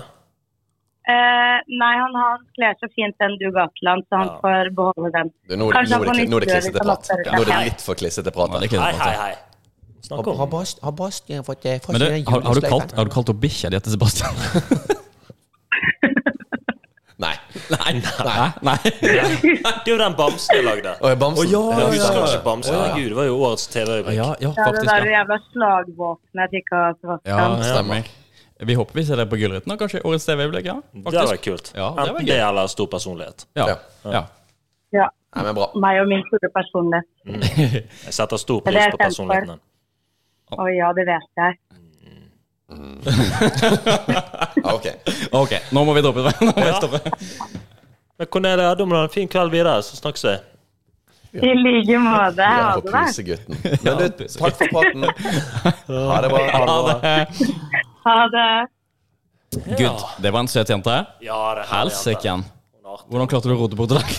Eh, nei, han, han kler så fint den dugateland, så han Ja. får beholde den. Du, nå, er det- Kanskje han nå, er det, får liksom. nå er det nyttiggjøre klissete litt av prat. masse- Nå er det litt for klissete prat. Ja, her. det er ikke Hei, det, hei, altså. hei. Snakk om Har Bastian fått det? Men du, har, har du kalt, har du kalt opp bikkja di etter Sebastian? Nei. Nei. Nei. Nei. Det er jo den bamsen jeg lagde. Å, er Bamsen? Å, ja, Jeg ja, husker ja. ikke bamsen. Herregud, det var jo årets TV-øyeblikk. Ja, ja, Ja, det faktisk. der Ja. jævla slagvåpenet jeg fikk av Ja, Sebastian. stemmer. Vi håper vi ser deg på Gullruten, og kanskje årets TV-øyeblikk. Ja, Det hadde faktisk. vært kult. Ja, det var Enten gøy. det eller stor personlighet. Ja, Ja. ja. Ja. Nei, men bra. Meg og min store personlighet. Jeg setter stor Det pris er på kjempe. personligheten din. Å ja, det vet jeg. Ja, ok. Ok, nå må vi droppe det. Nå må vi stoppe. Men Cornelia, du må ha en fin kveld videre, så snakkes vi. I like måte. Ha På det, da. pusegutten. Men du, takk for praten. Ha det Ha bra. det. Ha det. Gud, det var en søt jente. Ja, det er herlig, jente. Helsike. Hun er artig. Hvordan klarte du å rote bort i dag?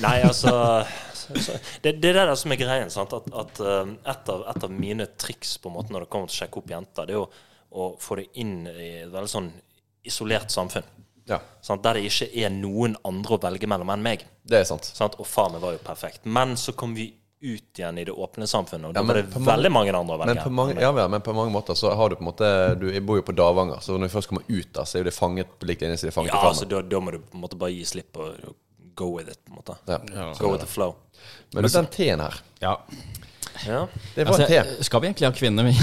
Nei, altså så- så- Det, det er det der som er greien. sant? At, at eh, et, av, et av mine triks på en måte når det kommer til å sjekke opp jenter, det er jo å få det inn i et veldig sånn isolert samfunn. Ja, Sant? Der det ikke er noen andre å velge mellom enn meg. det er sant. Sant? Og faen, det var jo perfekt. Men så kom vi ut igjen i det åpne samfunnet, og da Ja, var men det på mange- veldig mange andre å velge. Men på, mange, ja, ja, men på mange måter så har du på en måte Du jeg bor jo på Davanger, så når vi først kommer ut der, så er jo det fanget på lik linje som de fanget ja, i altså, Farmen. da, da må du på en måte bare gi slipp og og go with it, på en måte. Ja. Go with the flow. Men du, den T-en her, Ja. Ja. det var en T. Altså, skal vi egentlig ha kvinner? vi?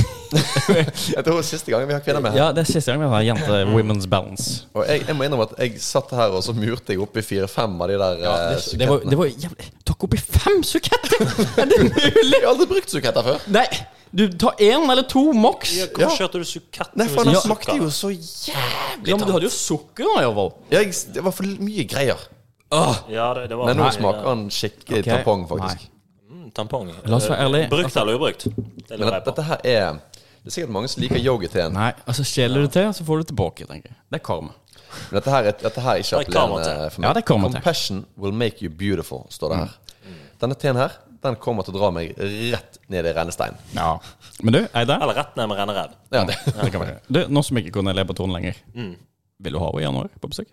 Jeg tror siste gangen vi har kvinner med her. Ja, det er siste gang vi har jente women's balance. Og jeg, jeg må innrømme at jeg satt her, og så murte jeg oppi fire-fem av de der eh, ja, Det, Eh, det var, det var jævlig Takk oppi fem suketter! Er det mulig? Jeg har aldri brukt suketter før. Nei, du tar én eller to maks. Ja, Hvorfor Ja. kjørte du sukett? Nei, for den Ja. smakte jo så jævlig Ja, men du hadde jo sukker nå, iallfall. jeg, Det var for mye greier. Ja, det, det var Men nå smaker han skikkelig Ok. tampong, faktisk. Mm, Tampong. Eh, La oss være ærlig. Brukt eller ubrukt? Det Men lurer jeg at, på. dette her er Det er sikkert mange som liker yogi-teen. Nei, altså stjeler du til, så får du tilbake, tenker jeg. Det er karma. Men dette her, er- dette her er ikke Det kommer appellerende til. for meg. Ja, det kommer til. Mm. Compassion will make you beautiful, står det her. Denne teen her, den kommer til å dra meg rett ned i rennesteinen. Ja. Men du, Eide, Eller rett ned med rennerev. Ja, det. det kan være. Du, nå som ikke Cornelia er på tronen lenger, vil du ha henne i januar på besøk?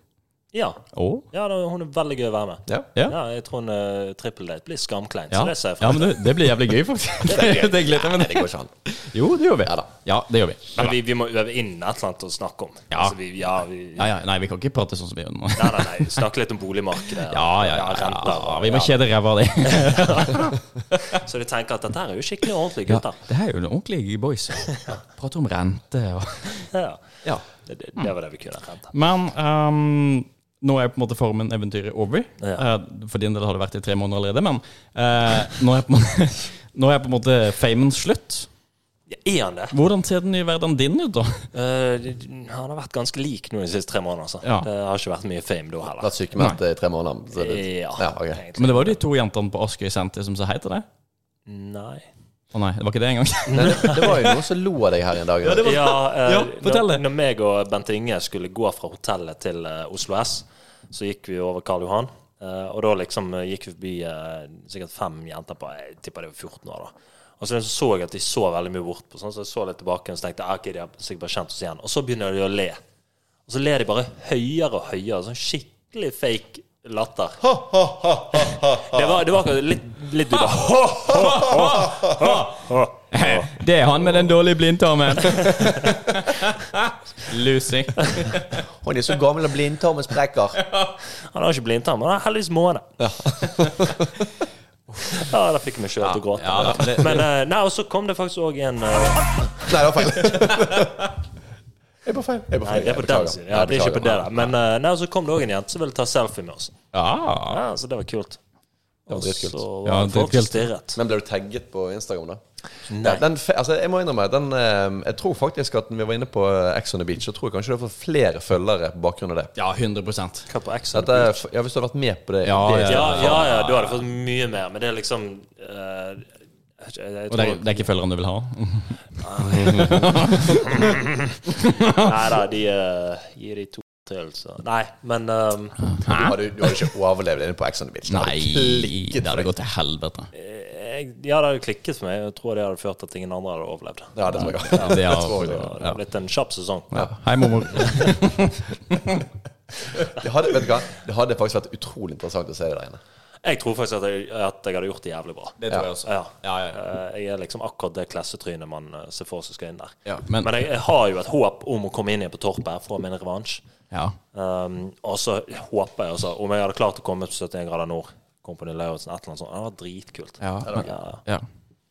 Ja. Å? Mm. ja da, hun er veldig gøy å være med. Ja. Ja. Ja, jeg tror en uh, trippeldate blir skamklein, Ja. så det ser jeg ja, frem men du, det blir jævlig gøy, faktisk. det gleder jeg Nei, meg det går ikke an. Jo, det gjør vi. Ja da. Ja, det gjør vi. Men vi, vi må øve inn et eller annet å snakke om. Ja. Altså, vi, ja, vi, Ja, ja, nei, vi kan ikke prate sånn som vi gjør nå. Nei, nei, nei. Snakke litt om boligmarkedet. Ja, ja, ja, ja, renter, ja. og- Vi må kjede ræva av det. ja. Så de tenker at dette her er jo skikkelig ordentlig, Ja, gutter. det her er jo noen ordentlige boys. Prate om rente og Ja. Ja. Det, det, det var det vi kunne rente. Men ehm, nå er på en måte Farmen-eventyret over. Ja. Eh, for din del har det vært i tre måneder allerede, men eh, nå, er på en måte, nå er på en måte famen slutt. Ja, er han det? Hvordan ser den nye hverdagen din ut, da? Eh, det- han har vært ganske lik nå de siste tre månedene. Altså. Ja. Det har ikke vært mye fame da heller. Vært sykemeldt i tre måneder. så det- Ja, ja, ok. egentlig. Men det var jo de to jentene på Askøy senter som sa hei til deg. Nei. Å nei, det var ikke det engang. Nei, det, det var jo noen som lo av deg her en dag. Ja, det var- Ja, eh, Ja, fortell når, det. når meg og Bent Inge skulle gå fra hotellet til eh, Oslo S, så gikk vi over Karl Johan. eh, og da liksom eh, gikk vi forbi eh, sikkert fem jenter på Jeg tipper det var 14 år. da. Og så så jeg at de så veldig mye bort på sånn, så jeg så litt tilbake og så tenkte jeg, ah, ok, de har sikkert bare kjent oss igjen. Og så begynner de å le. Og så ler de bare høyere og høyere. Sånn skikkelig fake latter. Det var, det var akkurat litt, litt du bare Det er han med den dårlige blindtarmen. Lucy. Hun er så gammel og blindtarmen sprekker. Han har ikke blindtarm, men han har heldigvis måne. Ja. ja, da fikk jeg meg sjøl til å gråte. Ja, det, Men eh, nei, og så kom det faktisk òg en eh, Nei, det var feil. Jeg er på feil. Jeg er på Nei, feil. det er på den siden. Ja, det er ikke på det der. Men eh, nei, og så kom det òg en jente som ville ta selfie med oss. ja. Ja, Så det var kult. Og dritkult. så Ja, var folk dritkult. stirret. Men ble du tagget på Instagram, da? Nei. Ja, Den, fe- altså, jeg må innrømme den, eh, Jeg tror faktisk at når vi var inne på eh, Ex on the Beach, så tror jeg kanskje du har fått flere følgere på bakgrunn av det. ja 100 Hva på X? Dette, er f- ja, Hvis du hadde vært med på det Ja, det, Ja, ja, ja, du hadde fått mye mer, men det er liksom eh, jeg, jeg, jeg Og det tror, er, det er ikke følgerne du vil ha? Nei da, de eh, gir de to til, så Nei, men eh, Du, hadde, du hadde ikke overlevd inne på Ex on the Beach. Det hadde Nei, klikket det hadde for deg. gått til helvete. jeg, Ja, det hadde klikket for meg. Jeg tror det hadde ført til at ingen andre hadde overlevd. Ja, det tror jeg. Ja, Det er- tror jeg. Så det har blitt en kjapp sesong. Ja. Hei, mormor. Det hadde, vet du hva? Det hadde faktisk vært utrolig interessant å se deg der inne. Jeg tror faktisk at jeg, at jeg hadde gjort det jævlig bra. Det tror jeg også. Ja. Ja, ja, ja. Eh, Jeg er liksom akkurat det klassetrynet man eh, ser for seg skal inn der. Ja, men- jeg, jeg har jo et håp om å komme inn igjen på Torpet her, få min revansj. Ja. Um, og så håper jeg altså Om jeg hadde klart å komme til 71 grader nord, Kompani Lauritzen, et eller annet sånt, det hadde vært dritkult. Ja, men- ja. ja.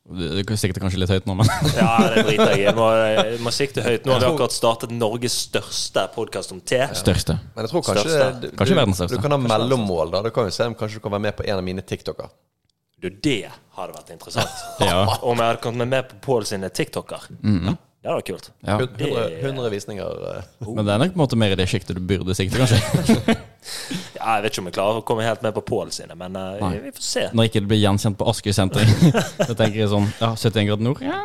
Det det er sikkert kanskje litt høyt nå, men ja, det driter jeg i. Jeg må, jeg må sikte høyt. Nå har vi akkurat startet Norges største podkast om te. Største. Men jeg tror kanskje Største. du, Kanskje du, verdens største. kan ha mellommål. da Du kan jo se om kanskje du kan være med på en av mine TikToker. Du, det hadde vært interessant. Ja. Om jeg hadde kommet med på Pål sine TikToker. Mm. Ja, Det hadde vært kult. Ja. 100, 100 visninger. eh. Men det er nok på en måte mer i det sjiktet du burde sikte, kanskje. Ja, jeg vet ikke om jeg klarer å komme helt med på Pål sine, men eh, Nei. vi får se. Når ikke det blir gjenkjent på Askøy senter. Da tenker jeg sånn Ja, 71 grader nord? Ja.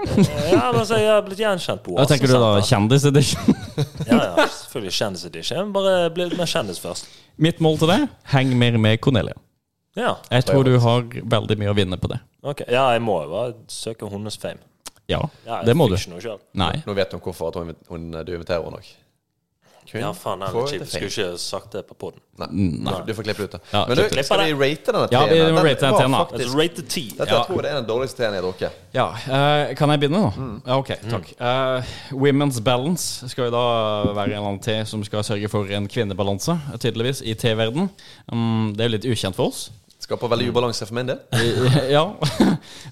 Ja, men altså, jeg har blitt gjenkjent på Da tenker du da Oasen-senter. kjendisedition? Ja, ja, selvfølgelig kjendisedition. Jeg må Bare bli litt mer kjendis først. Mitt mål til deg heng mer med Cornelia. Ja, Jeg tror du har veldig mye å vinne på det. ok. Ja, jeg må jo bare søke hundenes fame. Ja, Ja, jeg det må du. fikk ikke noe selv. Nei. Nå vet hun hvorfor at hun, hun, eh, du inviterer henne òg. Ja, faen, jeg Får er kjip. det Skulle ikke sagt det på poden. Nei. Du får klippe det ut. da. Mm, Ja, Men du, klipp det. skal vi rate denne Ja, vi teen? må rate den var teen, da. faktisk- Altså, Rate the tea. Dette Ja. jeg tror jeg er den dårligste teen jeg har drukket. Ja, eh, Kan jeg begynne nå? Mm. Ja, ok, takk. Eh, women's balance skal jo da være en eller annen te som skal sørge for en kvinnebalanse, tydeligvis, i te-verden. Mm, det er jo litt ukjent for oss. Skaper veldig ubalanse for min del. I- ja.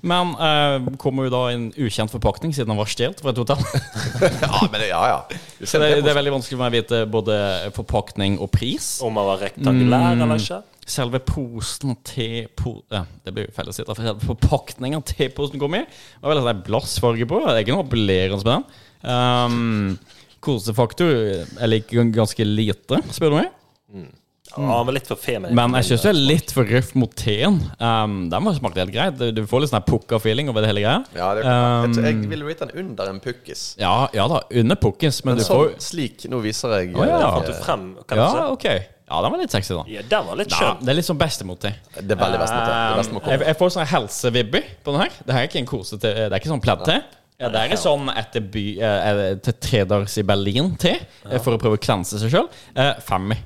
Men eh, kommer jo da i en ukjent forpakning, siden den var stjålet fra et hotell. Ja, men det- ja, ja. Du Så ser det, det, det er veldig vanskelig for meg å vite både forpakning og pris. Om han var rektangulær Mm. eller ikke. Selve posen til po eh, Det blir jo feil å si. da, for Selve forpakninga til posen kom i. Det var veldig sånn blassfarge på. Det er ikke noe appellerende med den. Um, kosefaktor jeg liker ganske lite, spør du meg. Ja, han var litt for feminin. Men jeg syns du er litt for røff mot teen. Um, den var smakte helt greit. Du- Du får litt sånn her pukka-feeling over det hele greia. ja, det kan- jeg, tror- Um, jeg vil rate den under en pukkis. Ja, ja da, under pukkis, men du Sånn får slik. Nå viser jeg eh, Å, ja. Fant du frem, kan du eh, Ja, ok. Ja, den var litt sexy, da. se? Ja, den var litt Ja, skjønn. det er litt sånn bestemot til. eh, Det er veldig best med det. det er best med å jeg, komme. jeg får sånn helsevibber på den her. Det her er ikke en kose til, det er ikke sånn pledd til. Ja, det her er sånn etter by, eh, eh, til tredagers i Berlin til, eh, for å prøve å klense seg sjøl. Eh, Femmer.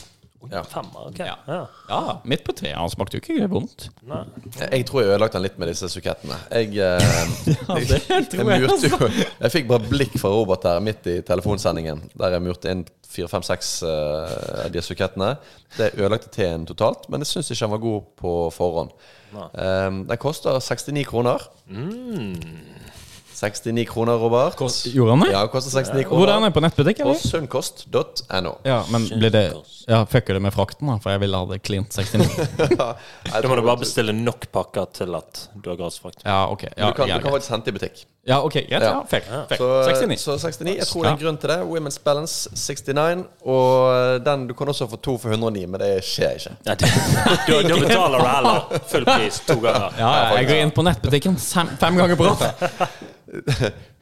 Ja. Femmer, ok. Ja. Ja. Ja, midt på treet. Han smakte jo ikke vondt. Nei. Jeg tror jeg ødelagte den litt med disse sukettene. Jeg, eh, Ja, det tror jeg, jeg, altså. murte jo Jeg fikk bare blikk fra Robert der midt i telefonsendingen, der jeg murte inn fire-fem-seks eh, av de sukettene. Det ødelagte teen totalt, men jeg syns ikke den var god på forhånd. Eh, den koster 69 kroner. Mm. 69 kroner, Robert. Gjorde han det? Ja, den koster 69 Hvor er kroner. han på nettbutikk, På eller? sunnkost.no. Ja, men blir det Ja, fucker det med frakten, da? For jeg ville ha det klint 69. Da må du bare bestille nok pakker til at du har gradsfrakt. Ja, ok. Ja, Du kan, ja, du kan greit. faktisk hente i butikk. ja, ok, greit. Ja, fair. fair. Så 69. 69. Så 69. Jeg tror det er en Ja. grunn til det. Women's Balance 69. Og den du kan også få to for 109, men det skjer ikke. Nei, det- Da da betaler du heller full pris to ganger. Ja, jeg går inn på nettbutikken fem, fem ganger på rad.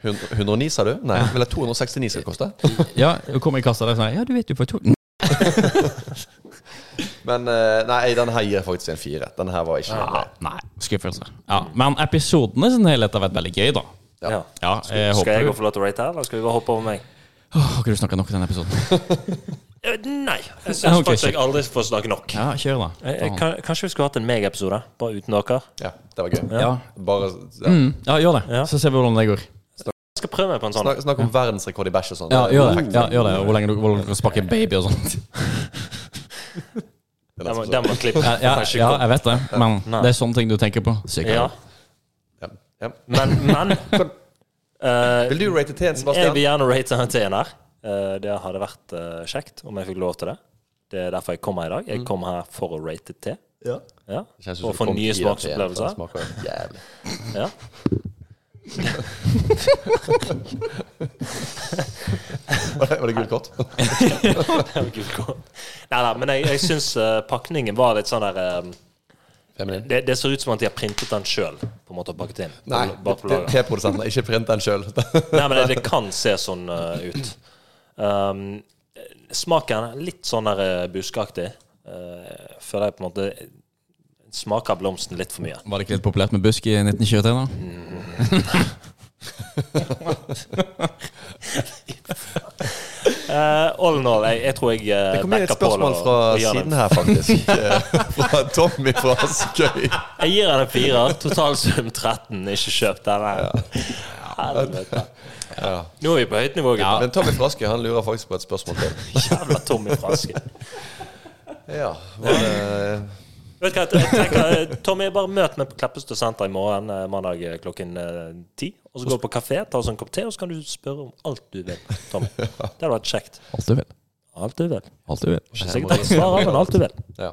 Hun- 109, sa du? Nei, vil ha 269 skal det koste. Ja, jeg kommer i kassa der og sier Ja, du vet du får to Men eh, nei, denne her gir jeg faktisk en fire. Denne her var ikke ja, Nei, skuffelse. Ja, men episodene i sin helhet har vært veldig gøy, da. Ja. Eh, Ja, jeg Skal jeg håper gå for lov til å rate her, eller skal vi bare hoppe over meg? Åh, Har ikke du snakka nok i denne episoden? Eh, Nei. Jeg Ja, syns ok, faktisk kjekt. jeg aldri får snakke nok. Ja, kjør, da. Eh, eh, kan- Kanskje vi skulle hatt en megaepisode, bare uten dere. Ja, det var gøy. Ja, Mm. Bare ja. ja gjør det. Ja. Så ser vi hvordan det går. Jeg skal prøve meg på en sånn. Snakk, snakk om verdensrekord i bæsj og sånn. Ja, Det er gjør det. perfekt. Ja, gjør det. Og Hvor lenge du, hvor lenge du kan sparke baby og sånt. Det er Den må, nesten den sånn. må klippe. Ja, ja, Kanskje ja, kom- jeg vet det, men Nei. det er sånne ting du tenker på. Sikkert. ja. Ja. Ja. Men, men eh, Vil du rate T-en, Jeg Sebastian? vil gjerne rate den til en her. Eh, Det hadde vært eh, kjekt om jeg fikk lov til det. Det er derfor jeg kom her i dag. Jeg kom her for å rate te. Mm. Ja. Ja. Det kjennes ut som Og du få kom i nye den teen, for den smaksopplevelser. smaker jo jævlig. Ja. Var det- Var det gult kort? Det var gult kort. Nei, nei, men jeg, jeg syns eh, pakningen var litt sånn der eh, Feminin? det, det ser ut som at de har printet den sjøl, på en måte, og pakket inn. Nei, Bak på lageret. T-produsenten har ikke print den sjøl. Nei, men det, det kan se sånn eh, ut. Um, smaken er litt sånn der eh, buskaktig. Eh, føler jeg på en måte smaker blomsten litt for mye. Var det ikke litt populært med busk i 1923, da? Mm. Eh, all in all, jeg, jeg tror jeg uh, Det kom inn et spørsmål fra siden her, faktisk. Eh, fra Tommy fra Askøy. Jeg gir han en firer. Totalsum 13. Ikke kjøp den her. Helvete. Nå er vi på høyt nivå, gutter. Men Tommy fra Askøy han lurer faktisk på et spørsmål til. Jævla Tommy Fraske. Ja, var det Vet du hva, jeg tenker, eh, Tommy, bare møt meg på Kleppestø senter i morgen, eh, mandag eh, klokken eh, ti. Og så går du på kafé, tar oss en kopp te, og så kan du spørre om alt du vil. Tommy. Det hadde vært kjekt. Alt du vil. Alt du vil. Alt du vil. Ikke sikkert at du svarer, men alt du vil. ja.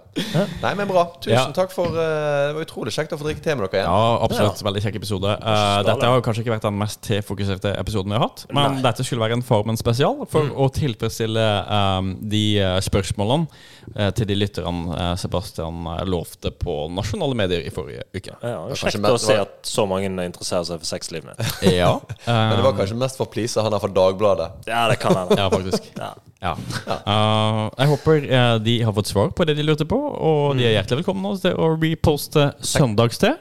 Nei, men bra. Ja. Tusen takk for eh, Det var utrolig kjekt å få drikke te med dere Ja, igjen. absolutt. Veldig kjekk episode. Eh, dette har jo kanskje ikke vært den mest T-fokuserte episoden vi har hatt, men dette skulle være en Farmen spesial for å tilfredsstille eh, de eh, spørsmålene eh, til de lytterne eh, Sebastian eh, lovte på nasjonale medier i forrige uke. Ja, det er kanskje kjekt mer- å se at så mange interesserer seg for sexlivet mitt. Ja, eh, Men det var kanskje mest for å please han her fra Dagbladet. Ja, det kan hende. ja faktisk. Ja. Ja. Eh, jeg håper eh, de har fått svar på det de lurte på, og de er hjertelig velkomne til å reposte søndagste.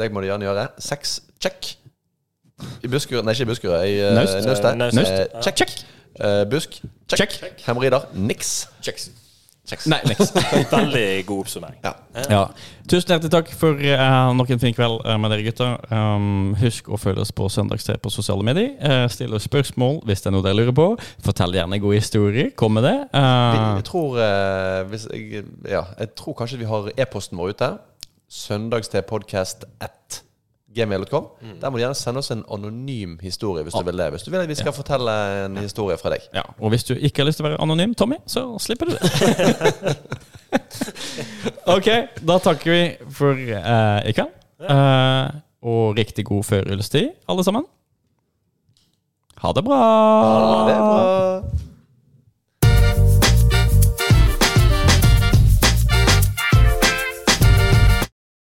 Det må de gjerne gjøre. Seks check. I Buskerud Nei, ikke i Buskerud. I eh, Naust. Naustet. Naust. Eh, Naust. Check. Eh, busk. Check. Check. Hemoroider. Niks. Nei, niks. Veldig god oppsummering. Ja. Ja. Tusen hjertelig takk for eh, nok en fin kveld eh, med dere gutter. Um, husk å følge oss på Søndagste på sosiale medier. Eh, still oss spørsmål hvis det er noe dere lurer på. Fortell gjerne gode historier. Kom med det. Eh, Jeg tror, eh, hvis jeg, ja, jeg tror kanskje vi har e-posten vår ute. Søndagstepodkast1gmail.com. Der må du gjerne sende oss en anonym historie hvis du vil det. Hvis du vil at vi skal fortelle en historie fra deg. ja. Og hvis du ikke har lyst til å være anonym, Tommy, så slipper du det. ok, da takker vi for eh, i kveld. Eh, og riktig god førjulstid, alle sammen. Ha det bra. Det er bra.